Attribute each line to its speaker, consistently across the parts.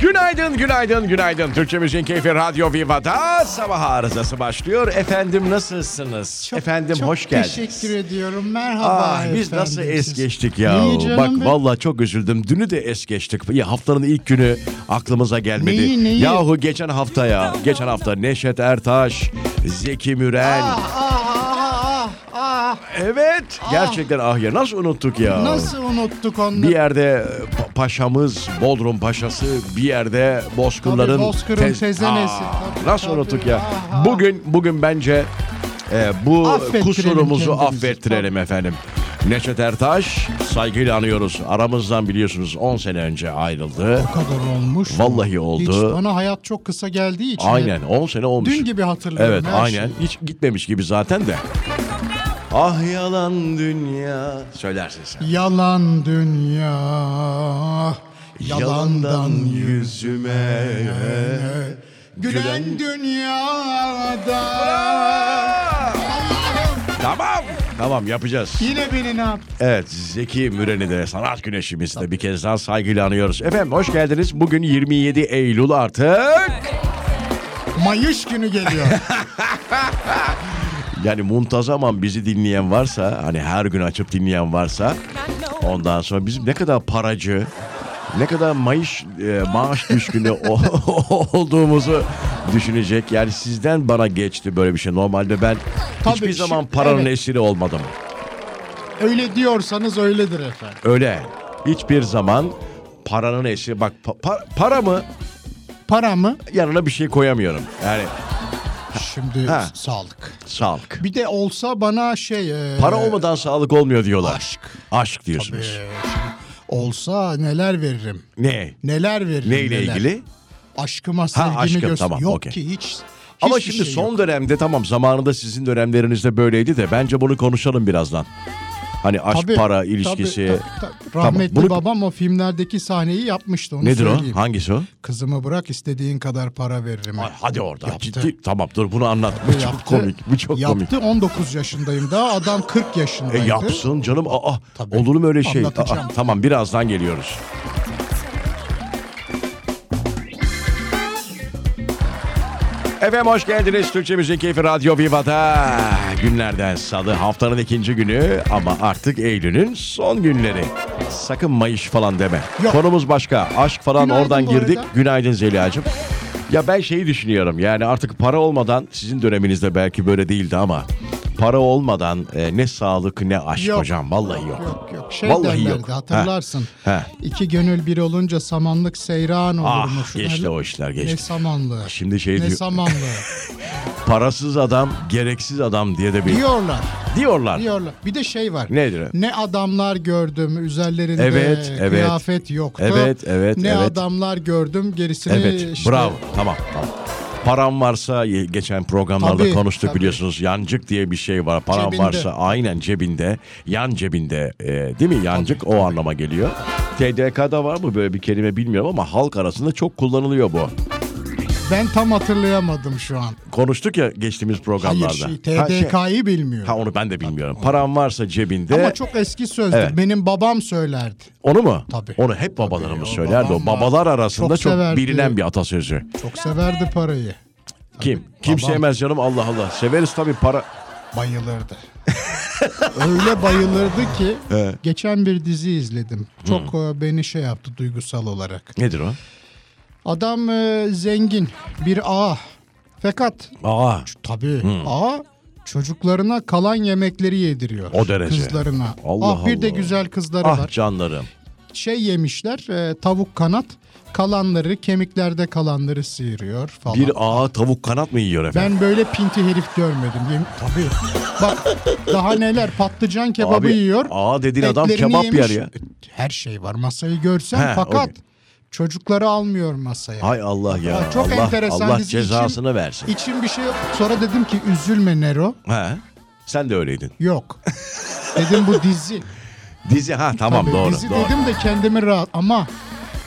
Speaker 1: Günaydın, günaydın, günaydın. Türkçe Müziğin Keyfi Radyo Viva'da sabah arızası başlıyor. Efendim nasılsınız? Efendim
Speaker 2: çok
Speaker 1: hoş geldiniz.
Speaker 2: teşekkür ediyorum. Merhaba
Speaker 1: Ah,
Speaker 2: efendim.
Speaker 1: biz nasıl es geçtik ya?
Speaker 2: Niye canım
Speaker 1: Bak
Speaker 2: be?
Speaker 1: vallahi çok üzüldüm. Dünü de es geçtik. Ya haftanın ilk günü aklımıza gelmedi.
Speaker 2: Neyi, neyi?
Speaker 1: Yahu geçen hafta ya. Geçen hafta Neşet Ertaş, Zeki Müren.
Speaker 2: Ah, ah, ah, ah,
Speaker 1: Evet. Gerçekten ah ya nasıl unuttuk ya?
Speaker 2: ah. Nasıl unuttuk
Speaker 1: Bir
Speaker 2: onları?
Speaker 1: yerde e, pa- paşamız Bodrum paşası, bir yerde Bozkırların
Speaker 2: Tabii, Bozkır'ın
Speaker 1: tez-
Speaker 2: tezenesi.
Speaker 1: Aa,
Speaker 2: Tabii,
Speaker 1: nasıl
Speaker 2: tabii.
Speaker 1: unuttuk ya?
Speaker 2: Aha.
Speaker 1: Bugün bugün bence e, bu
Speaker 2: Affettirelim
Speaker 1: kusurumuzu
Speaker 2: kendimizi.
Speaker 1: affettirelim efendim. Neşet Ertaş saygıyla anıyoruz. Aramızdan biliyorsunuz 10 sene önce ayrıldı.
Speaker 2: Bu kadar olmuş. mu?
Speaker 1: Vallahi oldu.
Speaker 2: Hiç bana hayat çok kısa geldiği için.
Speaker 1: Aynen 10 sene olmuş.
Speaker 2: Dün gibi hatırlıyorum
Speaker 1: Evet
Speaker 2: her
Speaker 1: aynen.
Speaker 2: şeyi.
Speaker 1: Hiç gitmemiş gibi zaten de. Ah yalan dünya. Söylersin sen.
Speaker 2: Yalan dünya. Yalandan yüz.
Speaker 1: yüzüme
Speaker 2: Gülen dünyada.
Speaker 1: Aa!
Speaker 2: Allah'ım,
Speaker 1: Tamam. Tamam yapacağız.
Speaker 2: Yine beni ne yaptı?
Speaker 1: Evet Zeki Müren'i de sanat güneşimizi de bir kez daha saygıyla anıyoruz. Efendim hoş geldiniz. Bugün 27 Eylül artık.
Speaker 2: Mayış günü geliyor.
Speaker 1: Yani muntazaman bizi dinleyen varsa hani her gün açıp dinleyen varsa ondan sonra bizim ne kadar paracı ne kadar maaş e, maaş düşkünü o- olduğumuzu düşünecek. Yani sizden bana geçti böyle bir şey. Normalde ben
Speaker 2: Tabii,
Speaker 1: hiçbir
Speaker 2: şimdi-
Speaker 1: zaman paranın
Speaker 2: evet.
Speaker 1: esiri olmadım.
Speaker 2: Öyle diyorsanız öyledir efendim.
Speaker 1: Öyle. Hiçbir zaman paranın esiri. Bak pa- pa- para mı
Speaker 2: Para mı?
Speaker 1: yanına bir şey koyamıyorum. Yani
Speaker 2: Şimdi
Speaker 1: Ha.
Speaker 2: s- sağlık.
Speaker 1: sağlık.
Speaker 2: Bir de olsa bana şey... e,
Speaker 1: Para olmadan sağlık olmuyor diyorlar.
Speaker 2: Aşk.
Speaker 1: Aşk
Speaker 2: e,
Speaker 1: diyorsunuz.
Speaker 2: şimdi olsa neler veririm.
Speaker 1: Ne?
Speaker 2: Neler veririm.
Speaker 1: Neyle
Speaker 2: neler.
Speaker 1: ilgili?
Speaker 2: Aşkıma sevgimi
Speaker 1: aşkım,
Speaker 2: göster-
Speaker 1: tamam,
Speaker 2: Yok
Speaker 1: okey.
Speaker 2: ki hiç. hiçbir
Speaker 1: Ama şimdi
Speaker 2: şey
Speaker 1: son
Speaker 2: yok.
Speaker 1: dönemde tamam zamanında sizin dönemlerinizde böyleydi de bence bunu konuşalım birazdan. Hani aşk
Speaker 2: Tabii,
Speaker 1: para
Speaker 2: tabii,
Speaker 1: ilişkisi.
Speaker 2: tabii, tabii.
Speaker 1: Tamam,
Speaker 2: Rahmetli
Speaker 1: bunu-
Speaker 2: babam o filmlerdeki sahneyi yapmıştı onu
Speaker 1: Nedir
Speaker 2: söyleyeyim.
Speaker 1: o? Hangisi o?
Speaker 2: Kızımı bırak istediğin kadar para veririm.
Speaker 1: Ay, hadi orada.
Speaker 2: Yaptı.
Speaker 1: Ciddi. Tamam dur bunu anlat. Bu çok
Speaker 2: Yaptı.
Speaker 1: komik. Bu çok komik.
Speaker 2: Yaptı 19 yaşındayım daha adam 40
Speaker 1: E
Speaker 2: yaşındaydı.
Speaker 1: yapsın canım. Aa,
Speaker 2: Tabii.
Speaker 1: olur mu öyle şey?
Speaker 2: Anlatacağım.
Speaker 1: Aa, tamam birazdan geliyoruz. Efendim hoş geldiniz. Türkçe Müzik Keyfi Radyo Viva'da. Günlerden salı haftanın ikinci günü ama artık Eylül'ün son günleri. Sakın Mayış falan deme.
Speaker 2: Yok.
Speaker 1: Konumuz başka. Aşk falan
Speaker 2: Günaydın
Speaker 1: oradan
Speaker 2: bu
Speaker 1: girdik.
Speaker 2: arada.
Speaker 1: Günaydın Zeliha'cığım. Ya ben şeyi düşünüyorum yani artık para olmadan sizin döneminizde belki böyle değildi ama para olmadan e, ne sağlık ne aşk
Speaker 2: Yok.
Speaker 1: hocam vallahi yok.
Speaker 2: Yok yok. Şey
Speaker 1: Vallahi
Speaker 2: derlerdi
Speaker 1: yok.
Speaker 2: hatırlarsın.
Speaker 1: He, he.
Speaker 2: İki gönül bir olunca samanlık seyran
Speaker 1: Ah
Speaker 2: olurmuş.
Speaker 1: geçti o işler
Speaker 2: Ne
Speaker 1: geçti.
Speaker 2: samanlığı.
Speaker 1: Şimdi şey
Speaker 2: ne
Speaker 1: diyor-
Speaker 2: samanlığı.
Speaker 1: Parasız adam gereksiz adam diye de bir
Speaker 2: diyorlar.
Speaker 1: diyorlar.
Speaker 2: Diyorlar. Bir de şey var.
Speaker 1: Nedir o?
Speaker 2: Ne adamlar gördüm üzerlerinde
Speaker 1: Evet, evet.
Speaker 2: kıyafet yoktu.
Speaker 1: Evet, evet,
Speaker 2: Ne
Speaker 1: evet.
Speaker 2: adamlar gördüm gerisini
Speaker 1: Evet
Speaker 2: e, işte
Speaker 1: bravo tamam tamam. Param varsa ye- geçen programlarda
Speaker 2: Tabii,
Speaker 1: konuştuk
Speaker 2: tabii.
Speaker 1: biliyorsunuz yancık diye bir şey var. Param
Speaker 2: Cebinde.
Speaker 1: varsa aynen cebinde, yan cebinde e, değil mi yancık o anlama geliyor. TDK'da var mı böyle bir kelime bilmiyorum ama halk arasında çok kullanılıyor bu.
Speaker 2: Ben tam hatırlayamadım şu an.
Speaker 1: Konuştuk ya geçtiğimiz programlarda.
Speaker 2: Hayır şey,
Speaker 1: Ha, şey-
Speaker 2: TDK'yı bilmiyorum.
Speaker 1: Ha onu ben de bilmiyorum. Param varsa cebinde.
Speaker 2: Ama çok eski sözdür.
Speaker 1: Evet.
Speaker 2: Benim babam söylerdi.
Speaker 1: Onu mu?
Speaker 2: Tabii.
Speaker 1: Onu hep babalarımız
Speaker 2: o
Speaker 1: söylerdi.
Speaker 2: babam
Speaker 1: o babalar
Speaker 2: var.
Speaker 1: arasında
Speaker 2: Çok
Speaker 1: çok,
Speaker 2: severdi.
Speaker 1: bilinen bir atasözü.
Speaker 2: Çok severdi parayı.
Speaker 1: Kim? Kim
Speaker 2: babam.
Speaker 1: sevmez canım Allah Allah. Severiz tabii para.
Speaker 2: Bayılırdı. Öyle bayılırdı ki
Speaker 1: Evet.
Speaker 2: geçen bir dizi izledim. Çok e, beni şey yaptı duygusal olarak.
Speaker 1: Nedir o?
Speaker 2: Adam e, zengin bir ağa. Fakat
Speaker 1: Aa.
Speaker 2: tabii ağa çocuklarına kalan yemekleri yediriyor.
Speaker 1: O derece.
Speaker 2: Kızlarına.
Speaker 1: Allah
Speaker 2: ah bir de
Speaker 1: Allah.
Speaker 2: güzel kızları
Speaker 1: Ah
Speaker 2: var.
Speaker 1: canlarım.
Speaker 2: Şey yemişler e, tavuk kanat kalanları kemiklerde kalanları sıyırıyor falan.
Speaker 1: Bir ağa tavuk kanat mı yiyor efendim?
Speaker 2: Ben böyle pinti herif görmedim. Yem- Tabii. Bak daha neler patlıcan kebabı
Speaker 1: Abi,
Speaker 2: yiyor.
Speaker 1: ağa dediğin adam
Speaker 2: etlerini
Speaker 1: kebap
Speaker 2: yemiş.
Speaker 1: yer ya.
Speaker 2: Her şey var masayı görsen
Speaker 1: He,
Speaker 2: fakat
Speaker 1: okey.
Speaker 2: çocukları almıyor masaya.
Speaker 1: Hay Allah ya.
Speaker 2: Aa, çok
Speaker 1: Allah,
Speaker 2: enteresan
Speaker 1: Allah
Speaker 2: dizi
Speaker 1: cezasını
Speaker 2: için-
Speaker 1: versin.
Speaker 2: İçim bir şey yok. Sonra dedim ki üzülme Nero.
Speaker 1: He. Sen de öyleydin.
Speaker 2: Yok. dedim bu dizi.
Speaker 1: Dizi ha tamam
Speaker 2: Tabii,
Speaker 1: doğru.
Speaker 2: dizi
Speaker 1: doğru.
Speaker 2: dedim de kendimi rahat ama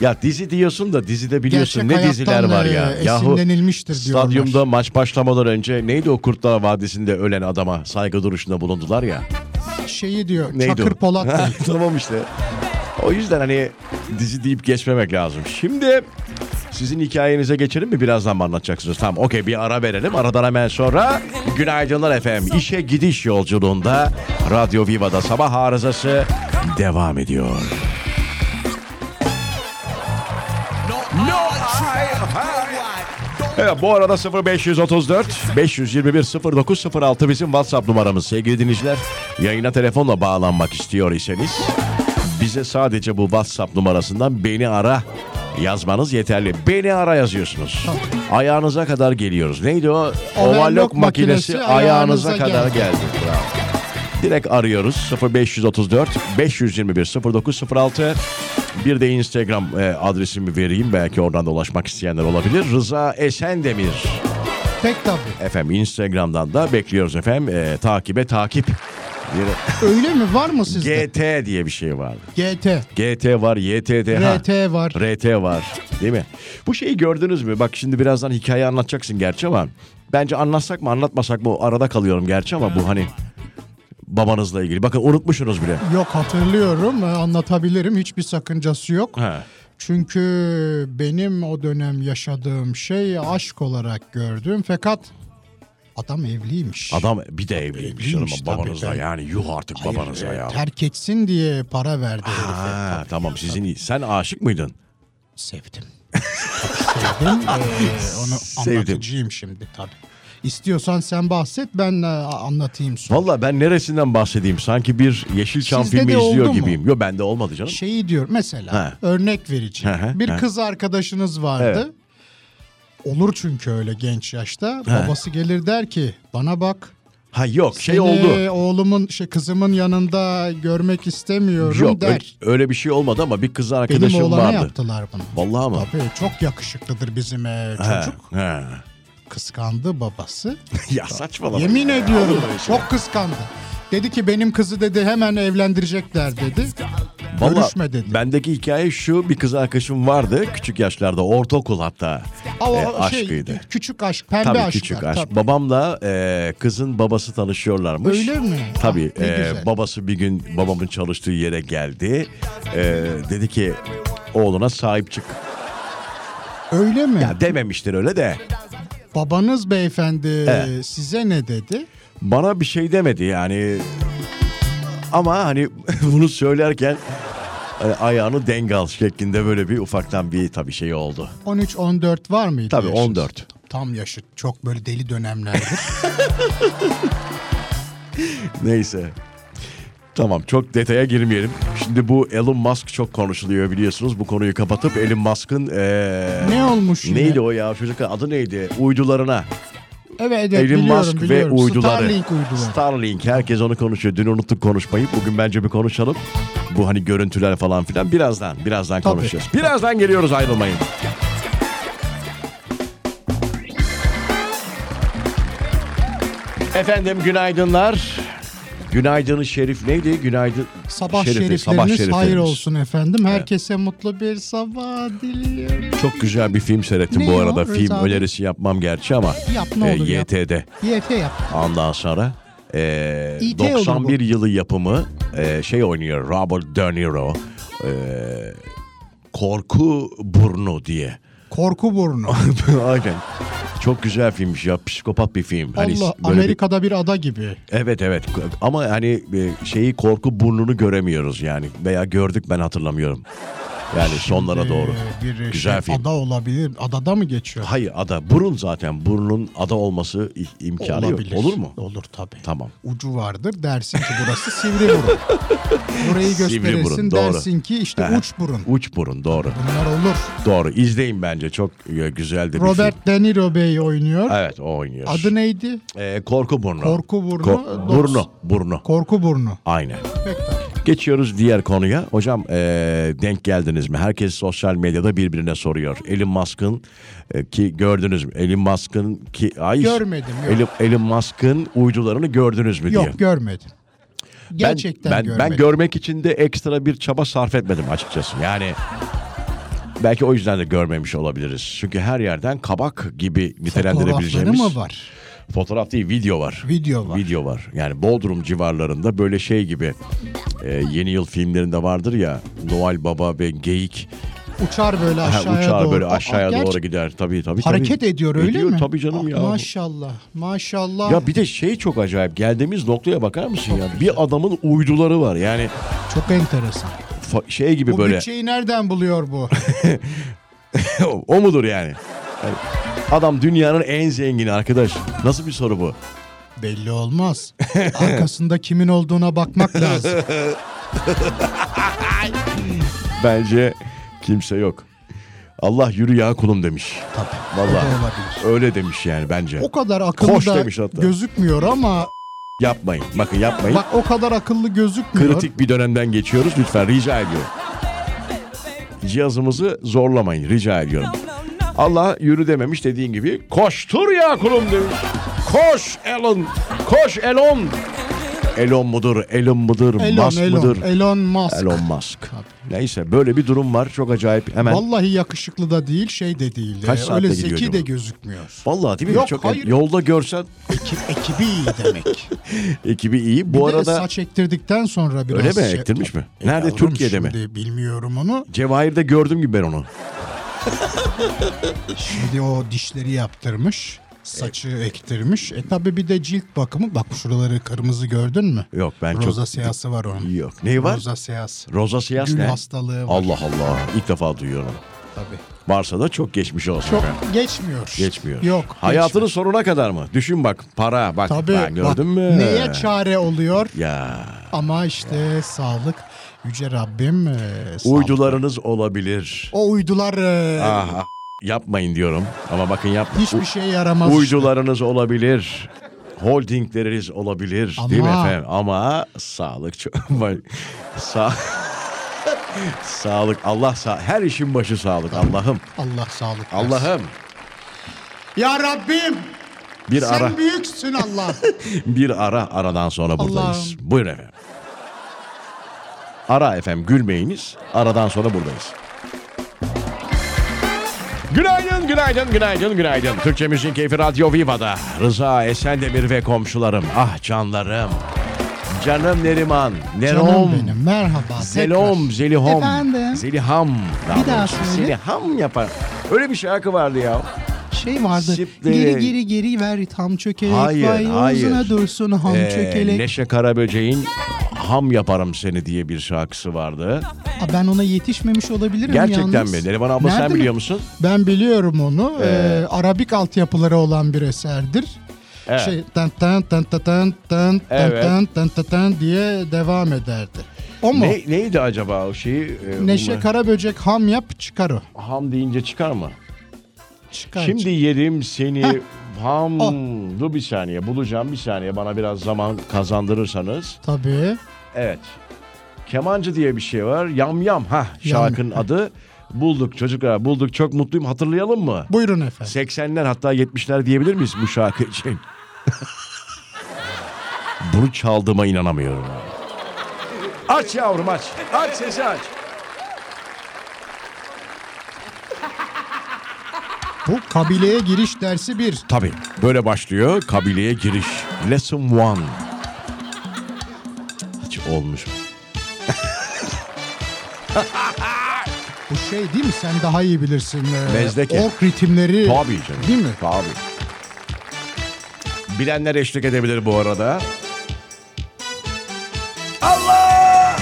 Speaker 1: Ya dizi diyorsun da dizide biliyorsun
Speaker 2: gerçek
Speaker 1: ne diziler
Speaker 2: hayattan,
Speaker 1: var
Speaker 2: e,
Speaker 1: ya. Yahu
Speaker 2: esinlenilmiştir diyorlar.
Speaker 1: Stadyumda maç başlamadan önce neydi o Kurtlar Vadisi'nde ölen adama saygı duruşunda bulundular ya.
Speaker 2: Şeyi diyor
Speaker 1: Neydi
Speaker 2: Çakır
Speaker 1: o?
Speaker 2: Polat Bey.
Speaker 1: tamam işte. O yüzden hani dizi deyip geçmemek lazım. Şimdi Sizin hikayenize geçelim mi? Birazdan mı anlatacaksınız? Tamam okey bir ara verelim. Aradan hemen sonra günaydınlar efendim. İşe gidiş yolculuğunda Radyo Viva'da sabah arızası devam ediyor. Evet bu arada 0534 521 0906 bizim WhatsApp numaramız. Sevgili dinleyiciler yayına telefonla bağlanmak istiyor iseniz bize sadece bu WhatsApp numarasından beni ara yazmanız yeterli. Beni ara yazıyorsunuz. Ayağınıza kadar geliyoruz. Neydi o? Ovalok makinesi ayağınıza kadar geldi. Bravo. Direkt arıyoruz 0534 521 0906 bir de Instagram e, adresimi vereyim belki oradan da ulaşmak isteyenler olabilir. Rıza Esendemir
Speaker 2: Pek tabii.
Speaker 1: efendim Instagram'dan da bekliyoruz efendim E, takibe takip. Bir-
Speaker 2: Öyle mi? Var mı sizde?
Speaker 1: GT diye bir şey var.
Speaker 2: GT.
Speaker 1: GT var, YTT ha.
Speaker 2: RT var.
Speaker 1: RT var. Değil mi? Bu şeyi gördünüz mü? Bak şimdi birazdan hikaye anlatacaksın gerçi ama bence anlatsak mı anlatmasak mı arada kalıyorum gerçi ama bu hani babanızla ilgili. Bakın unutmuşsunuz bile.
Speaker 2: Yok hatırlıyorum. Ee, Anlatabilirim. Hiçbir sakıncası yok.
Speaker 1: Ha.
Speaker 2: Çünkü benim o dönem yaşadığım şey aşk olarak gördüm. Fakat adam evliymiş.
Speaker 1: Adam bir de evliymiş canım
Speaker 2: Evliymiş tabii
Speaker 1: babanızla
Speaker 2: tabii.
Speaker 1: yani yuh artık babanızla
Speaker 2: Ee,
Speaker 1: ya. Ah.
Speaker 2: Terk etsin diye para verdi herife.
Speaker 1: Ha, tamam sizin iyi. Sen aşık mıydın?
Speaker 2: Sevdim. Sevdim. Ee, onu
Speaker 1: Sevdim.
Speaker 2: anlatacağım şimdi tabii. İstiyorsan sen bahset ben e, anlatayım sonra.
Speaker 1: Valla ben neresinden bahsedeyim? Sanki bir Yeşilçam
Speaker 2: Sizde
Speaker 1: filmi
Speaker 2: de
Speaker 1: izliyor
Speaker 2: oldu mu?
Speaker 1: gibiyim. Yo bende olmadı canım.
Speaker 2: Şeyi diyor mesela
Speaker 1: Ha.
Speaker 2: örnek vereceğim.
Speaker 1: Hı hı,
Speaker 2: bir
Speaker 1: hı.
Speaker 2: kız arkadaşınız vardı. Olur çünkü öyle genç yaşta. Babası gelir der ki bana bak.
Speaker 1: Ha yok şey
Speaker 2: seni
Speaker 1: oldu.
Speaker 2: Oğlumun şey kızımın yanında görmek istemiyorum
Speaker 1: Yok öyle,
Speaker 2: der.
Speaker 1: öyle bir şey olmadı ama bir kız
Speaker 2: Benim
Speaker 1: arkadaşım
Speaker 2: oğlana
Speaker 1: vardı.
Speaker 2: yaptılar bunu.
Speaker 1: Vallahi mı?
Speaker 2: Tabii çok yakışıklıdır bizim e,
Speaker 1: Ha,
Speaker 2: çocuk.
Speaker 1: ha.
Speaker 2: Kıskandı babası.
Speaker 1: ya saçmalama.
Speaker 2: Yemin
Speaker 1: ya.
Speaker 2: ediyorum
Speaker 1: Allah aşkına.
Speaker 2: çok kıskandı. Dedi ki benim kızı dedi hemen evlendirecekler dedi.
Speaker 1: Vallahi
Speaker 2: Görüşme dedi.
Speaker 1: Bendeki hikaye şu bir kız arkadaşım vardı küçük yaşlarda ortaokul hatta.
Speaker 2: Ama
Speaker 1: E,
Speaker 2: o şey,
Speaker 1: aşkıydı.
Speaker 2: Küçük aşk, pembe
Speaker 1: Tabii
Speaker 2: aşklar,
Speaker 1: küçük aşk.
Speaker 2: tabii.
Speaker 1: Babamla e, kızın babası tanışıyorlarmış.
Speaker 2: Öyle mi?
Speaker 1: Tabii.
Speaker 2: Ah, ne
Speaker 1: e,
Speaker 2: güzel.
Speaker 1: babası bir gün babamın çalıştığı yere geldi. E, dedi ki oğluna sahip çık.
Speaker 2: Öyle mi?
Speaker 1: Ya dememiştir öyle de.
Speaker 2: Babanız beyefendi
Speaker 1: Evet.
Speaker 2: size ne dedi?
Speaker 1: Bana bir şey demedi yani. Ama hani bunu söylerken e, ayağını dengal şeklinde böyle bir ufaktan bir tabii şey oldu.
Speaker 2: 13-14 var mıydı?
Speaker 1: Tabii,
Speaker 2: yaşınız?
Speaker 1: 14.
Speaker 2: Tam yaşı. Çok böyle deli dönemlerdir.
Speaker 1: Neyse. Tamam çok detaya girmeyelim. Şimdi bu Elon Musk çok konuşuluyor biliyorsunuz. Bu konuyu kapatıp Elon Musk'ın eee,
Speaker 2: ne olmuş yine?
Speaker 1: neydi o ya çocuk adı neydi? Uydularına.
Speaker 2: Evet, evet
Speaker 1: Elon
Speaker 2: biliyorum
Speaker 1: Musk
Speaker 2: biliyorum.
Speaker 1: ve uyduları.
Speaker 2: Starlink uyduları.
Speaker 1: Starlink herkes onu konuşuyor. Dün unuttuk konuşmayı. Bugün bence bir konuşalım. Bu hani görüntüler falan filan birazdan birazdan
Speaker 2: Tabii.
Speaker 1: konuşacağız. Birazdan geliyoruz ayrılmayın. Efendim günaydınlar. Günaydın Şerif neydi? Günaydın
Speaker 2: Sabah
Speaker 1: Şerif değil,
Speaker 2: şerifleriniz
Speaker 1: sabah
Speaker 2: hayır
Speaker 1: şerifleriniz.
Speaker 2: olsun efendim. Herkese mutlu bir sabah diliyorum.
Speaker 1: Çok güzel bir film seyrettim
Speaker 2: Ne
Speaker 1: bu
Speaker 2: o
Speaker 1: arada.
Speaker 2: Rıza
Speaker 1: film
Speaker 2: abi?
Speaker 1: önerisi yapmap gerçi ama e,
Speaker 2: Yap, ne olur yap.
Speaker 1: YT'de.
Speaker 2: YT yap.
Speaker 1: Ondan sonra e,
Speaker 2: İyi de olur
Speaker 1: 91
Speaker 2: bu.
Speaker 1: yılı yapımı e, şey oynuyor Robert De Niro e, Korku Burnu diye.
Speaker 2: Korku burnu.
Speaker 1: Aynen. Çok güzel filmmiş ya psikopat bir film. Hani
Speaker 2: Allah
Speaker 1: böyle bir-
Speaker 2: Amerika'da bir ada gibi.
Speaker 1: evet evet ama hani e, şeyi korku burnunu göremiyoruz yani veya gördük ben hatırlamıyorum. Yani sonlara doğru.
Speaker 2: Ee, bir
Speaker 1: Güzel
Speaker 2: şey,
Speaker 1: film.
Speaker 2: ada olabilir. Adada mı geçiyor?
Speaker 1: Hayır ada burun zaten burnun ada olması i- imkanı
Speaker 2: olabilir.
Speaker 1: yok. Olur mu?
Speaker 2: Olur tabii.
Speaker 1: Tamam.
Speaker 2: Ucu vardır dersin ki burası sivri burun. Burayı
Speaker 1: Sivri
Speaker 2: gösterirsin
Speaker 1: burun, doğru.
Speaker 2: dersin ki işte
Speaker 1: Aha.
Speaker 2: uç burun.
Speaker 1: Uç burun doğru.
Speaker 2: Bunlar olur.
Speaker 1: Doğru. izleyin bence. Çok e, güzel de bir film.
Speaker 2: Robert De Niro Bey oynuyor.
Speaker 1: Evet o oynuyor.
Speaker 2: Adı neydi?
Speaker 1: Ee, korku burnu.
Speaker 2: Korku burnu,
Speaker 1: Ko-
Speaker 2: dokuz.
Speaker 1: burnu. Burnu.
Speaker 2: Korku burnu.
Speaker 1: Aynen.
Speaker 2: Pek tabii.
Speaker 1: Geçiyoruz diğer konuya. Hocam ee, denk geldiniz mi? Herkes sosyal medyada birbirine soruyor. Elon Musk'ın e, ki gördünüz mü? Elon Musk'ın ki ay
Speaker 2: Görmedim, yok.
Speaker 1: Elon, Elon Musk'ın uydularını gördünüz mü diye.
Speaker 2: Yok görmedim. Gerçekten
Speaker 1: ben, ben,
Speaker 2: görmedim.
Speaker 1: ben görmek için de ekstra bir çaba sarf etmedim açıkçası. Yani belki o yüzden de görmemiş olabiliriz. Çünkü her yerden kabak gibi
Speaker 2: Fotoğrafları
Speaker 1: nitelendirebileceğimiz
Speaker 2: mı var?
Speaker 1: Fotoğraf değil video var.
Speaker 2: Video var.
Speaker 1: Video var. Yani Bodrum civarlarında böyle şey gibi e, yeni yıl filmlerinde vardır ya Noel Baba ve Geyik
Speaker 2: uçar böyle
Speaker 1: Ha,
Speaker 2: aşağıya
Speaker 1: uçar
Speaker 2: doğru.
Speaker 1: böyle
Speaker 2: Aa,
Speaker 1: aşağıya
Speaker 2: gerçi
Speaker 1: doğru gider. Tabii tabii.
Speaker 2: Hareket
Speaker 1: tabii.
Speaker 2: ediyor öyle mi?
Speaker 1: Tabii canım
Speaker 2: Aa,
Speaker 1: ya.
Speaker 2: Maşallah. Maşallah.
Speaker 1: Ya bir de şey çok acayip. Geldiğimiz noktaya bakar mısın ya? Bir adamın uyduları var. Yani
Speaker 2: Çok enteresan.
Speaker 1: fa- şey gibi
Speaker 2: Bu
Speaker 1: böyle.
Speaker 2: bütçeyi nereden buluyor bu?
Speaker 1: o mudur yani? Yani Adam dünyanın en zengini arkadaş. Nasıl bir soru bu?
Speaker 2: Belli olmaz. Arkasında kimin olduğuna bakmak lazım.
Speaker 1: Bence kimse yok. Allah yürü ya kulum demiş.
Speaker 2: Tabii.
Speaker 1: Vallahi
Speaker 2: O da olabilir.
Speaker 1: öyle demiş yani bence.
Speaker 2: O kadar akıllı
Speaker 1: Koş
Speaker 2: da
Speaker 1: demiş hatta.
Speaker 2: gözükmüyor ama
Speaker 1: Yapmayın. Bakın yapmayın.
Speaker 2: bak o kadar akıllı gözükmüyor.
Speaker 1: Kritik bir dönemden geçiyoruz. Lütfen rica ediyorum. Cihazımızı zorlamayın. Rica ediyorum. Allah yürü dememiş dediğin gibi koştur ya kulum demiş. Koş Elon. Koş Elon. Elon mudur? Elon mudur?
Speaker 2: Elon,
Speaker 1: Musk
Speaker 2: Elon,
Speaker 1: mıdır?
Speaker 2: Elon Musk.
Speaker 1: Elon Musk. Neyse böyle bir durum var. Çok acayip. Hemen. Vallahi,
Speaker 2: Vallahi yakışıklı da değil, şey de değil.
Speaker 1: Kaç
Speaker 2: Ee,
Speaker 1: saatte
Speaker 2: Öyle
Speaker 1: gidiyor
Speaker 2: zeki
Speaker 1: acaba?
Speaker 2: de gözükmüyor.
Speaker 1: değil mi?
Speaker 2: Yok,
Speaker 1: Çok
Speaker 2: hayır.
Speaker 1: yolda görsen
Speaker 2: Ekip, ekibi iyi demek.
Speaker 1: ekibi iyi.
Speaker 2: Bir
Speaker 1: Bu
Speaker 2: de
Speaker 1: arada
Speaker 2: saç ektirdikten sonra biraz
Speaker 1: öyle mi
Speaker 2: şey-
Speaker 1: ektirmiş mi? Nerede
Speaker 2: Yavrum
Speaker 1: Türkiye'de mi?
Speaker 2: şimdi Bilmiyorum onu.
Speaker 1: Cevahir'de gördüm gibi ben onu.
Speaker 2: Şimdi o dişleri yaptırmış. Saçı ektirmiş. E tabi bir de cilt bakımı. Bak şuraları kırmızı gördün mü?
Speaker 1: Yok, ben çok-
Speaker 2: Roza seyası var onun.
Speaker 1: Yok. Neyi var?
Speaker 2: Roza seyası.
Speaker 1: Roza siyas
Speaker 2: Gül
Speaker 1: ne?
Speaker 2: hastalığı var
Speaker 1: Allah Allah. İlk defa duyuyorum.
Speaker 2: tabii.
Speaker 1: Varsa da çok geçmiş olsun.
Speaker 2: Çok
Speaker 1: efendim.
Speaker 2: geçmiyor.
Speaker 1: Geçmiyor.
Speaker 2: Yok.
Speaker 1: Hayatının
Speaker 2: geçmiyor.
Speaker 1: sonuna kadar mı? Düşün bak para bak.
Speaker 2: Tabii.
Speaker 1: ben gördün
Speaker 2: bak,
Speaker 1: mü?
Speaker 2: Neye çare oluyor?
Speaker 1: Ya
Speaker 2: Ama işte sağlık yüce Rabbim. e, sağlık.
Speaker 1: uydularınız olabilir.
Speaker 2: O uydular e,
Speaker 1: Ah, ah, yapmayın diyorum. Ama bakın yapmayın.
Speaker 2: hiçbir şey yaramaz.
Speaker 1: Uydularınız olabilir. Holdingleriniz olabilir. Değil mi
Speaker 2: Ama-
Speaker 1: efendim? Ama sağlık çok... Bak, Sa... sağlık. Allah sağ... Her işin başı sağlık. Allah'ım.
Speaker 2: Allah sağlık. versin.
Speaker 1: Allah'ım.
Speaker 2: Ya Rabbim
Speaker 1: Bir
Speaker 2: sen
Speaker 1: ara.
Speaker 2: büyüksün Allah.
Speaker 1: Bir ara aradan sonra buradayız.
Speaker 2: Allah'ım.
Speaker 1: Buyurun efendim. Ara efendim gülmeyiniz. Aradan sonra buradayız. Günaydın, günaydın, günaydın, günaydın. Türkçe Müziğin Keyfi Radyo Viva'da. Rıza Esendemir ve komşularım. Ah canlarım. Canım Neriman. Nerom.
Speaker 2: Canım benim merhaba.
Speaker 1: Zelom,
Speaker 2: tekrar.
Speaker 1: Zelihom.
Speaker 2: Efendim?
Speaker 1: Zeliham. daha
Speaker 2: Bir daha
Speaker 1: doğrusu.
Speaker 2: söyle.
Speaker 1: Zeliham yapar. Öyle bir şarkı vardı ya.
Speaker 2: Şey vardı.
Speaker 1: Sipleri.
Speaker 2: Geri geri geri ver tam çökelek.
Speaker 1: Hayır,
Speaker 2: vay,
Speaker 1: hayır.
Speaker 2: Ağzına dursun ham
Speaker 1: Ee,
Speaker 2: çökelek.
Speaker 1: Neşe Karaböcek'in Ham Yaparım Seni diye bir şarkısı vardı.
Speaker 2: Aa, ben ona yetişmemiş olabilirim
Speaker 1: Gerçekten
Speaker 2: yalnız.
Speaker 1: mi? Neriman abla sen
Speaker 2: Nerede mi?
Speaker 1: biliyor musun?
Speaker 2: Ben biliyorum onu. Ee, Arabik altyapıları olan bir eserdir.
Speaker 1: Evet.
Speaker 2: Şey tan tan tan tan tan tan tan
Speaker 1: Evet.
Speaker 2: tan tan tan tan diye devam ederdi. O mu?
Speaker 1: Ne, neydi acaba o şeyi? e,
Speaker 2: Neşe
Speaker 1: bunlar-
Speaker 2: Karaböcek ham yap çıkar o.
Speaker 1: Ham deyince çıkar mı?
Speaker 2: Çıkar.
Speaker 1: Şimdi yerim seni ham.
Speaker 2: O.
Speaker 1: Dur bir saniye bulacağım bir saniye bana biraz zaman kazandırırsanız.
Speaker 2: Tabii.
Speaker 1: Evet. Kemancı diye bir şey var. Yam yam ha şarkının adı. Bulduk çocuklar bulduk çok mutluyum hatırlayalım mı?
Speaker 2: Buyurun efendim.
Speaker 1: 80'ler hatta 70'ler diyebilir miyiz bu şarkı için? Bunu çaldığıma inanamıyorum. Aç yavrum aç. Aç sesi aç.
Speaker 2: Bu kabileye giriş dersi bir.
Speaker 1: Tabii böyle başlıyor kabileye giriş. Lesson one. Hiç olmuş. mu?
Speaker 2: Bu şey değil mi? Sen daha iyi bilirsin. Ee,
Speaker 1: Mezdeke.
Speaker 2: Ork ritimleri.
Speaker 1: Tabii canım.
Speaker 2: Değil mi?
Speaker 1: Tabii. Bilenler eşlik edebilir bu arada. Allah!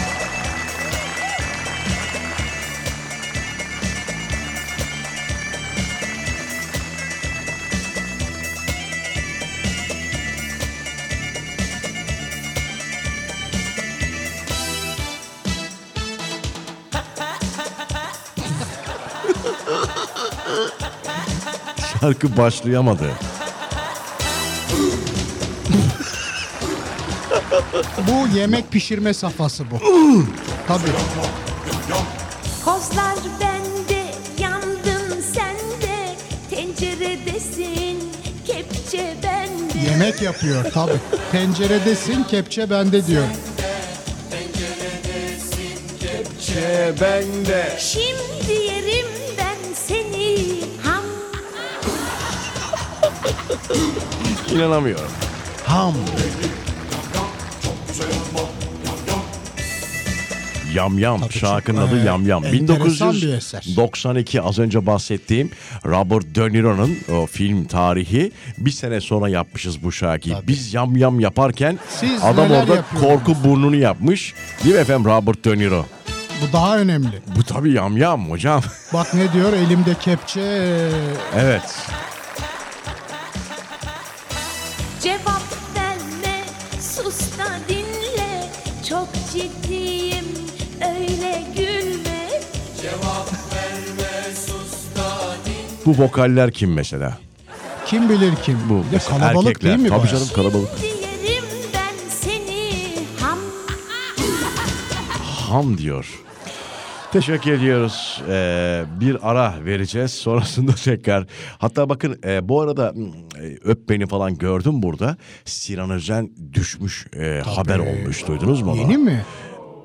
Speaker 1: Şarkı başlayamadı.
Speaker 2: Bu yemek pişirme safhası bu. Tabii.
Speaker 3: Kozlar bende, yandım sende Tenceredesin, kepçe bende
Speaker 2: Yemek yapıyor tabii. Tenceredesin kepçe bende diyor.
Speaker 1: bende.
Speaker 3: Şimdi yerim ben seni Ham,
Speaker 1: İnanamıyorum. Ham. Yam Yam.
Speaker 2: Tabii
Speaker 1: Şarkının
Speaker 2: çok,
Speaker 1: adı
Speaker 2: evet,
Speaker 1: Yam Yam.
Speaker 2: enteresan bir eser.
Speaker 1: 1992 az önce bahsettiğim Robert De Niro'nun o film tarihi bir sene sonra yapmışız bu şarkıyı. Biz Yam Yam yaparken
Speaker 2: Siz
Speaker 1: adam
Speaker 2: neler
Speaker 1: orada
Speaker 2: yapıyordunuz?
Speaker 1: korku burnunu yapmış. Değil mi efendim Robert De Niro?
Speaker 2: Bu daha önemli.
Speaker 1: Bu tabii Yam Yam hocam.
Speaker 2: Bak ne diyor elimde kepçe.
Speaker 1: evet.
Speaker 3: Cevap verme, sus da dinle. Çok ciddiyim, öyle gülme.
Speaker 1: Bu vokaller kim mesela?
Speaker 2: Kim bilir kim.
Speaker 1: Bu
Speaker 2: Bir de
Speaker 1: mesela
Speaker 2: kalabalık
Speaker 1: erkekler.
Speaker 2: değil mi?
Speaker 1: Tabii
Speaker 2: bayağı?
Speaker 1: canım kalabalık.
Speaker 3: Diyerim ben seni ham
Speaker 1: Ham diyor. Teşekkür ediyoruz. Ee, bir ara vereceğiz. Sonrasında tekrar. Hatta bakın e, bu arada hmm, e, öp beni falan gördüm burada. Sinan Özen düşmüş e, haber olmuş. Duydunuz mu onu?
Speaker 2: Yeni mi?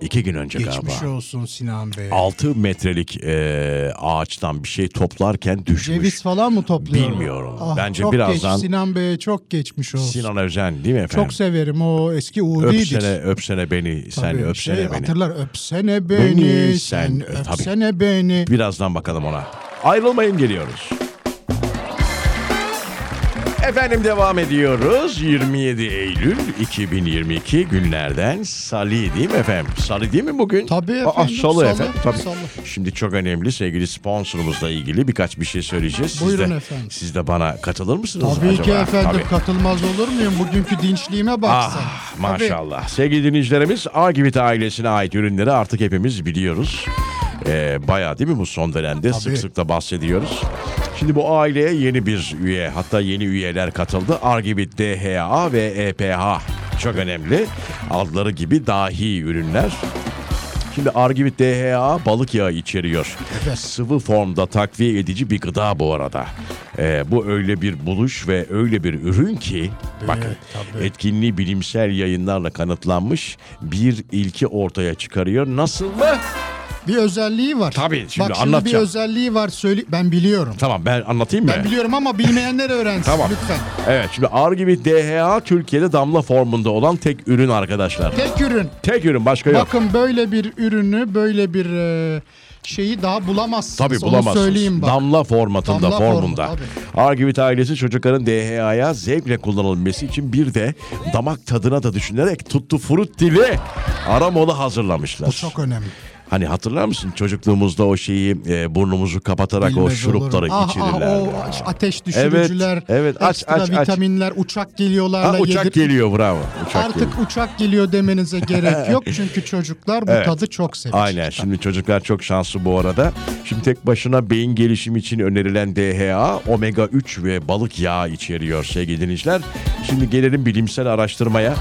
Speaker 1: İki gün önce galiba.
Speaker 2: Geçmiş olsun Sinan Bey.
Speaker 1: 6 metrelik e, ağaçtan bir şey toplarken düşmüş.
Speaker 2: Ceviz falan mı topluyor? Ah,
Speaker 1: Bilmiyorum. Bence
Speaker 2: çok
Speaker 1: birazdan-
Speaker 2: Geç. Sinan Bey'e çok geçmiş olsun.
Speaker 1: Sinan Özen değil mi efendim?
Speaker 2: Çok severim o eski Uğur'iydik.
Speaker 1: öpsene, öpsene beni. Sen
Speaker 2: Tabii,
Speaker 1: öpsene
Speaker 2: şey,
Speaker 1: beni.
Speaker 2: Hatırlar öpsene beni,
Speaker 1: Beni,
Speaker 2: sen,
Speaker 1: sen- e, tabii.
Speaker 2: öpsene beni.
Speaker 1: Birazdan bakalım ona. Ayrılmayın geliyoruz. Efendim devam ediyoruz. 27 Eylül 2022 günlerden Salı değil mi efendim? Salı değil mi bugün?
Speaker 2: Tabii
Speaker 1: Aa,
Speaker 2: efendim,
Speaker 1: Salı,
Speaker 2: Salı,
Speaker 1: efendim. Tabii.
Speaker 2: Salı.
Speaker 1: Şimdi çok önemli sevgili sponsorumuzla ilgili birkaç bir şey söyleyeceğiz. Siz
Speaker 2: Buyurun
Speaker 1: de,
Speaker 2: efendim.
Speaker 1: Siz de bana katılır mısınız
Speaker 2: Tabii
Speaker 1: acaba?
Speaker 2: ki efendim
Speaker 1: Tabii.
Speaker 2: katılmaz olur muyum? Bugünkü dinçliğime baksın.
Speaker 1: Ah
Speaker 2: Tabii.
Speaker 1: maşallah. Sevgili dinleyicilerimiz Agivit ailesine ait ürünleri artık hepimiz biliyoruz. Ee, bayağı değil mi bu son dönemde sık sık da bahsediyoruz. Şimdi bu aileye yeni bir üye hatta yeni üyeler katıldı. Argivit DHA ve EPH çok önemli. Adları gibi dahi ürünler. Şimdi Argivit DHA balık yağı içeriyor. Sıvı formda takviye edici bir gıda bu arada. Ee, bu öyle bir buluş ve öyle bir ürün ki bakın
Speaker 2: tabii.
Speaker 1: etkinliği bilimsel yayınlarla kanıtlanmış bir ilki ortaya çıkarıyor. Nasıl mı?
Speaker 2: Bir özelliği var.
Speaker 1: Tabii, şimdi
Speaker 2: Bak şimdi bir
Speaker 1: anlatacağım.
Speaker 2: özelliği var söyle ben biliyorum.
Speaker 1: Tamam ben anlatayım mı?
Speaker 2: Ben biliyorum ama bilmeyenler öğrensin
Speaker 1: Tamam.
Speaker 2: lütfen.
Speaker 1: Evet şimdi Argivit DHA Türkiye'de damla formunda olan tek ürün arkadaşlar.
Speaker 2: Tek ürün.
Speaker 1: Tek ürün başka yok.
Speaker 2: Bakın böyle bir ürünü, böyle bir e, şeyi daha bulamazsınız.
Speaker 1: Tabii
Speaker 2: Onu
Speaker 1: bulamazsınız.
Speaker 2: söyleyeyim bak.
Speaker 1: Damla formatında,
Speaker 2: Damla formu,
Speaker 1: formunda. Argivit ailesi çocukların DHA'ya zevkle kullanılması için bir de damak tadına da düşünerek tuttu furut dili aramolu hazırlamışlar.
Speaker 2: Bu çok önemli.
Speaker 1: Hani hatırlar mısın çocukluğumuzda o şeyi e, burnumuzu kapatarak o
Speaker 2: Bilmez
Speaker 1: şurupları
Speaker 2: olurum. ah,
Speaker 1: içirirler.
Speaker 2: Ah, o
Speaker 1: ya.
Speaker 2: aş- ateş düşürücüler,
Speaker 1: Evet, evet. Aç,
Speaker 2: ekstra
Speaker 1: aç, aç.
Speaker 2: vitaminler, uçak geliyorlarla
Speaker 1: Ha, uçak
Speaker 2: yedir-
Speaker 1: geliyor bravo. Uçak
Speaker 2: Artık
Speaker 1: geliyor.
Speaker 2: uçak geliyor demenize gerek yok çünkü çocuklar bu tadı çok seviyor.
Speaker 1: Aynen. Şimdi çocuklar çok şanslı bu arada. Şimdi tek başına beyin gelişimi için önerilen DHA, omega 3 ve balık yağı içeriyor sevgili dinleyiciler. Şimdi gelelim bilimsel araştırmaya.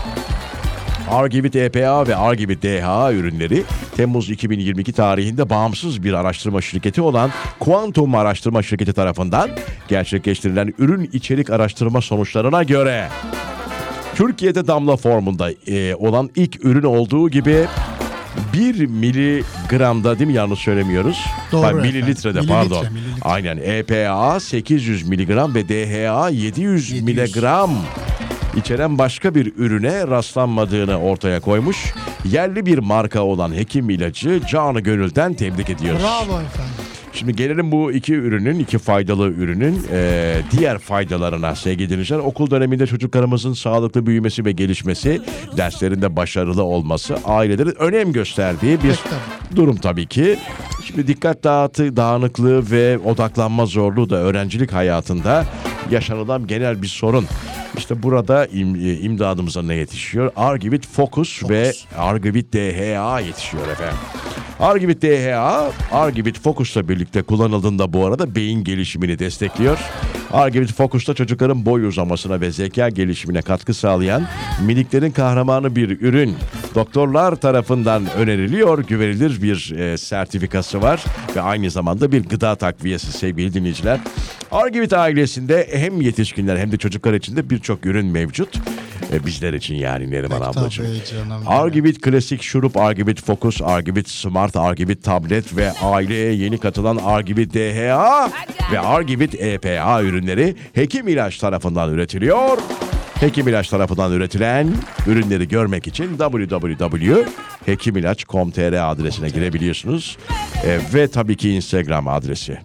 Speaker 1: Argivit EPA E ve Argivit DHA ürünleri Temmuz 2022 tarihinde bağımsız bir araştırma şirketi olan Quantum Araştırma Şirketi tarafından gerçekleştirilen ürün içerik araştırma sonuçlarına göre Türkiye'de damla formunda e, olan ilk ürün olduğu gibi 1 miligramda değil mi yanlış söylemiyoruz?
Speaker 2: Doğru
Speaker 1: Hayır,
Speaker 2: efendim.
Speaker 1: mililitrede
Speaker 2: Mililitre,
Speaker 1: pardon.
Speaker 2: mililitre.
Speaker 1: Aynen E EPA 800 miligram ve DHA 700,
Speaker 2: 700.
Speaker 1: miligram içeren başka bir ürüne rastlanmadığını ortaya koymuş. Yerli bir marka olan hekim ilacı canı gönülden tebrik ediyoruz.
Speaker 2: Bravo efendim.
Speaker 1: Şimdi gelelim bu iki ürünün, iki faydalı ürünün eee, diğer faydalarına sevgili dinleyiciler. Okul döneminde çocuklarımızın sağlıklı büyümesi ve gelişmesi, derslerinde başarılı olması, ailelerin önem gösterdiği bir
Speaker 2: tabii.
Speaker 1: durum tabii ki. Şimdi dikkat dağıtı, dağınıklığı ve odaklanma zorluğu da öğrencilik hayatında yaşanılan genel bir sorun. İşte burada im- e, imdadımıza ne yetişiyor? Argivit Focus, ve Argivit DHA yetişiyor efendim. Argivit DHA, Argivit Focus'la birlikte kullanıldığında bu arada beyin gelişimini destekliyor. Argivit Focus'ta çocukların boy uzamasına ve zeka gelişimine katkı sağlayan miniklerin kahramanı bir ürün. Doktorlar tarafından öneriliyor, güvenilir bir e, sertifikası var ve aynı zamanda bir gıda takviyesi sevgili dinleyiciler. Argivit ailesinde hem yetişkinler hem de çocuklar için de birçok ürün mevcut. E, bizler için yani Neriman
Speaker 2: Peki,
Speaker 1: ablacığım.
Speaker 2: tabii canım.
Speaker 1: Argivit Klasik Şurup, Argivit Focus, Argivit Smart, Argivit Tablet ve aileye yeni katılan Argivit E DHA ve Argivit EPA ürünleri hekim ilaç tarafından üretiliyor. Hekim İlaç tarafından üretilen ürünleri görmek için www.hekimilaç.com.tr adresine girebiliyorsunuz. E, ve tabii ki Instagram adresi.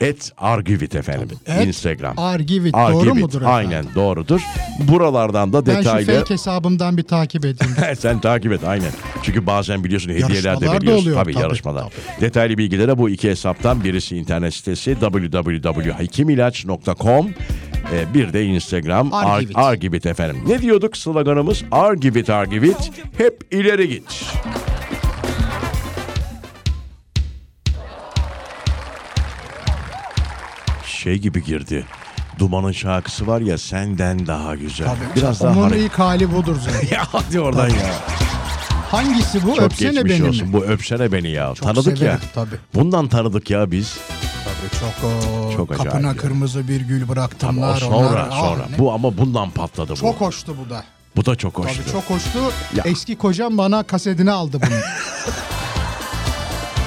Speaker 1: Et Argivit efendim.
Speaker 2: Et
Speaker 1: Instagram.
Speaker 2: Argivit, doğru mudur efendim?
Speaker 1: Aynen doğrudur. Buralardan da
Speaker 2: Ben
Speaker 1: detaylı...
Speaker 2: şu fake hesabımdan bir takip edeyim.
Speaker 1: Sen takip et aynen. Çünkü bazen biliyorsun hediyeler de
Speaker 2: Yarışmalar da
Speaker 1: veriyorsun.
Speaker 2: oluyor,
Speaker 1: tabii,
Speaker 2: tabii,
Speaker 1: yarışmalar. Detaylı bilgilere bu iki hesaptan birisi internet sitesi www.hekimilaç.com e, bir de Instagram
Speaker 2: Argivit.
Speaker 1: Argivit. Argivit efendim. Ne diyorduk sloganımız? Argivit Argivit hep ileri git. Şey gibi girdi. Duman'ın şarkısı var ya senden daha güzel. Biraz daha
Speaker 2: Onun
Speaker 1: hareket.
Speaker 2: ilk hali budur zaten.
Speaker 1: Ya hadi oradan ya.
Speaker 2: Hangisi bu?
Speaker 1: Çok
Speaker 2: Öpsene
Speaker 1: geçmiş
Speaker 2: beni mi?
Speaker 1: olsun. Bu öpsene beni ya. tanıdık ya.
Speaker 2: severim tabii.
Speaker 1: Bundan tanıdık ya biz.
Speaker 2: Tabii çok o
Speaker 1: Çok acayip
Speaker 2: kapına
Speaker 1: ya.
Speaker 2: kırmızı bir gül bıraktımlar.
Speaker 1: Ama o
Speaker 2: onlar.
Speaker 1: sonra
Speaker 2: Ah,
Speaker 1: sonra.
Speaker 2: ne-
Speaker 1: Bu ama bundan patladı bu.
Speaker 2: Çok hoştu bu da.
Speaker 1: Bu da çok
Speaker 2: Tabii
Speaker 1: hoştu.
Speaker 2: çok hoştu.
Speaker 1: Ya.
Speaker 2: Eski kocam bana kasetini aldı bunu.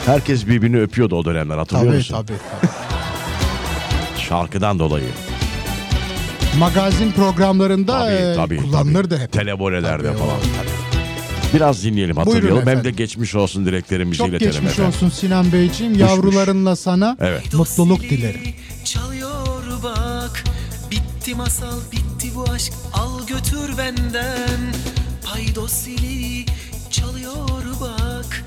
Speaker 1: Herkes birbirini öpüyordu o dönemler hatırlıyor
Speaker 2: tabii,
Speaker 1: musun?
Speaker 2: tabii tabii.
Speaker 1: Şarkıdan dolayı.
Speaker 2: Ee, Magazin programlarında
Speaker 1: Tabii
Speaker 2: e,
Speaker 1: tabii.
Speaker 2: kullanılırdı
Speaker 1: tabii.
Speaker 2: hep.
Speaker 1: Televolelerde
Speaker 2: Tabii, o-
Speaker 1: falan. Biraz dinleyelim hatırlayalım. Hem de
Speaker 2: efendim.
Speaker 1: geçmiş olsun dileklerimizi
Speaker 2: Çok
Speaker 1: iletelim
Speaker 2: geçmiş
Speaker 1: efendim.
Speaker 2: olsun Sinan Beyciğim. Yavrularınla sana
Speaker 1: Evet.
Speaker 2: mutluluk dilerim.
Speaker 4: Çalıyor bak Bitti masal bitti bu aşk Al götür benden Paydos zili çalıyor bak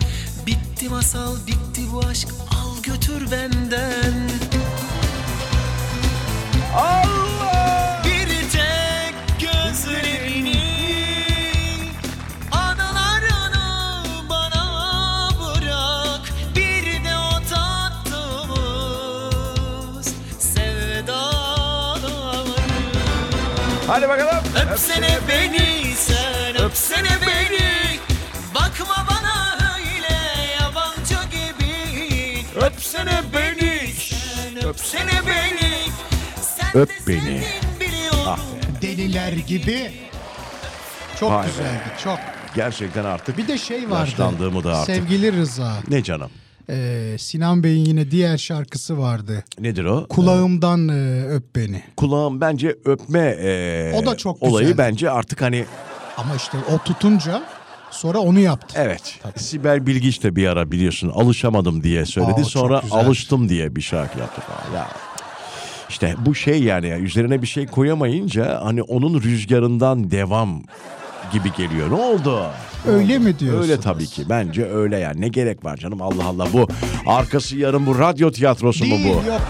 Speaker 4: Bitti masal bitti bu aşk Al götür benden Allah Bir tek gözlerini Analar ana bana bırak Bir de o tatlımız sevdalarım
Speaker 1: Hadi bakalım.
Speaker 4: Öpsene beni sen öpsene beni Bakma bana öyle yabancı gibi Öpsene beni sen öpsene beni Sen
Speaker 1: Öp
Speaker 4: de
Speaker 1: beni.
Speaker 4: sevdin biliyorum
Speaker 2: Deliler gibi. Çok
Speaker 1: Vay be.
Speaker 2: güzeldi. Çok.
Speaker 1: Gerçekten artık
Speaker 2: Bir de şey vardı.
Speaker 1: Yaşlandığımı da artık.
Speaker 2: Sevgili Rıza.
Speaker 1: Ne canım?
Speaker 2: e, Sinan Bey'in yine diğer şarkısı vardı.
Speaker 1: Nedir o?
Speaker 2: Kulağımdan e, öp beni.
Speaker 1: Kulağım bence öpme e,
Speaker 2: O da çok
Speaker 1: olayı
Speaker 2: güzeldi.
Speaker 1: bence artık hani
Speaker 2: Ama işte o tutunca sonra onu yaptı.
Speaker 1: Evet. Sibel Bilgiç de bir ara biliyorsun alışamadım diye söyledi.
Speaker 2: Aa, çok
Speaker 1: Sonra
Speaker 2: güzel.
Speaker 1: alıştım diye bir şarkı yaptı falan. Ya. İşte bu şey yani ya, üzerine bir şey koyamayınca hani onun rüzgarından devam gibi geliyor. Ne oldu?
Speaker 2: Öyle mi diyorsunuz?
Speaker 1: Öyle tabii ki. Bence öyle yani. Ne gerek var canım Allah Allah bu arkası yarın bu radyo tiyatrosu mu
Speaker 2: Değil
Speaker 1: bu?
Speaker 2: yok efendim.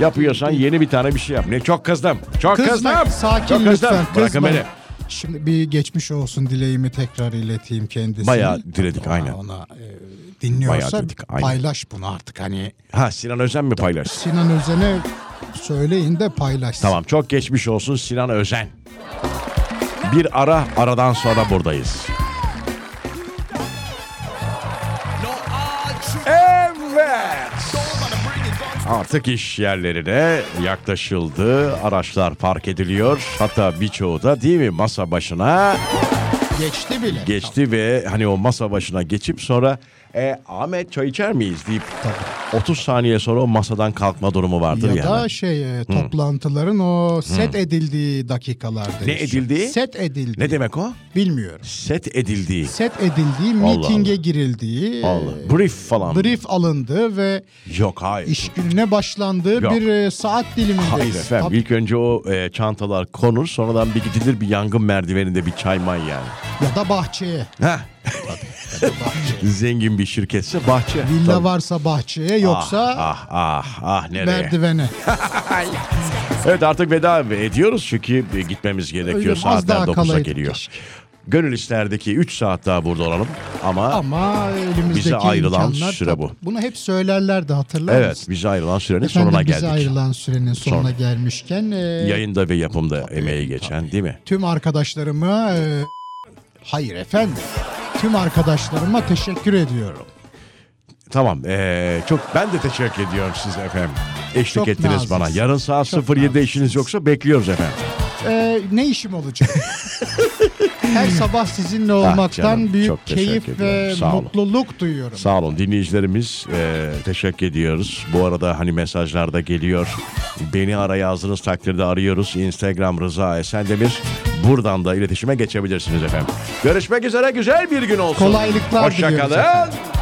Speaker 1: Yapıyorsan yeni bir tane bir şey yap. Ne çok kızdım. Çok kızdım.
Speaker 2: Kızma, sakin
Speaker 1: çok kızdım.
Speaker 2: lütfen.
Speaker 1: Bırakın
Speaker 2: kızma.
Speaker 1: beni.
Speaker 2: Şimdi bir geçmiş olsun dileğimi tekrar ileteyim kendisine.
Speaker 1: Bayağı diledik,
Speaker 2: Ona-
Speaker 1: aynen.
Speaker 2: Ona e, dinliyorsa
Speaker 1: Bayağı diledik, aynen.
Speaker 2: paylaş bunu artık hani
Speaker 1: Ha Sinan Özen mi paylaşsın?
Speaker 2: Sinan Özen'e söyleyin de paylaşsın.
Speaker 1: Tamam çok geçmiş olsun Sinan Özen. Bir ara aradan sonra buradayız. Evet. Artık iş yerlerine yaklaşıldı. Araçlar park ediliyor. Hatta birçoğu da değil mi masa başına
Speaker 2: Geçti bile.
Speaker 1: geçti ve hani o masa başına geçip sonra e, Ahmet çay içer miyiz deyip 30 saniye sonra o masadan kalkma durumu vardır
Speaker 2: Ya
Speaker 1: yani.
Speaker 2: da şey e, toplantıların o set edildiği dakikalarda.
Speaker 1: Ne
Speaker 2: yaşıyor.
Speaker 1: edildiği?
Speaker 2: Set edildiği.
Speaker 1: Ne demek o?
Speaker 2: Bilmiyorum.
Speaker 1: Set edildiği.
Speaker 2: Set edildiği,
Speaker 1: Allah
Speaker 2: mitinge
Speaker 1: Allah.
Speaker 2: girildiği, e,
Speaker 1: Allah. Brief falan.
Speaker 2: Ee, brief alındı ve
Speaker 1: Yok hayır.
Speaker 2: iş gününe başlandığı
Speaker 1: Yok.
Speaker 2: bir e, saat dilimindeyiz.
Speaker 1: Hayır efendim.
Speaker 2: Tabii.
Speaker 1: İlk önce o e, çantalar konur. Sonradan bir gidilir bir yangın merdiveninde bir çayman yani.
Speaker 2: Ya da bahçeye.
Speaker 1: Heh. Zengin bir şirketse bahçe.
Speaker 2: Villa
Speaker 1: Tabii.
Speaker 2: varsa bahçeye yoksa
Speaker 1: Ah ah ah nereye?
Speaker 2: merdivene.
Speaker 1: Evet artık veda ediyoruz çünkü e, gitmemiz gerekiyor.
Speaker 2: Öyle, az daha
Speaker 1: Saatler 9'a
Speaker 2: kalaydık
Speaker 1: geliyor.
Speaker 2: keşke.
Speaker 1: Gönül isterdeki 3 saat daha burada olalım ama,
Speaker 2: Ama elimizdeki
Speaker 1: Bize ayrılan
Speaker 2: imkanlar
Speaker 1: süre
Speaker 2: tabii.
Speaker 1: bu.
Speaker 2: Bunu hep söylerlerdi hatırlar
Speaker 1: evet
Speaker 2: mısın?
Speaker 1: bize ayrılan sürenin
Speaker 2: Efendim,
Speaker 1: sonuna
Speaker 2: bize
Speaker 1: geldik.
Speaker 2: ayrılan sürenin sonuna
Speaker 1: Sonra.
Speaker 2: gelmişken e,
Speaker 1: Yayında ve yapımda emeği geçen değil mi?
Speaker 2: tüm arkadaşlarıma e, hayır efendim tüm arkadaşlarıma teşekkür ediyorum.
Speaker 1: Tamam. eee, çok ben de teşekkür ediyorum size efendim. Eşlik
Speaker 2: Çok
Speaker 1: ettiniz
Speaker 2: naziksiniz.
Speaker 1: bana. Yarın saat
Speaker 2: Çok
Speaker 1: 07'de işiniz
Speaker 2: naziksiniz.
Speaker 1: yoksa bekliyoruz efendim.
Speaker 2: E, ne işim olacak? Her sabah sizinle
Speaker 1: Ah
Speaker 2: olmaktan
Speaker 1: canım, çok
Speaker 2: büyük
Speaker 1: teşekkür
Speaker 2: keyif ve
Speaker 1: ediyorum. Sağ olun.
Speaker 2: mutluluk duyuyorum.
Speaker 1: Sağ olun dinleyicilerimiz e, teşekkür ediyoruz. Bu arada hani mesajlar da geliyor. Beni ara yazdığınız takdirde arıyoruz. Instagram Rıza Esendemir. Buradan da iletişime geçebilirsiniz efendim. Görüşmek üzere güzel bir gün olsun.
Speaker 2: Kolaylıklar
Speaker 1: Hoşça
Speaker 2: diliyoruz
Speaker 1: kalın.
Speaker 2: efendim.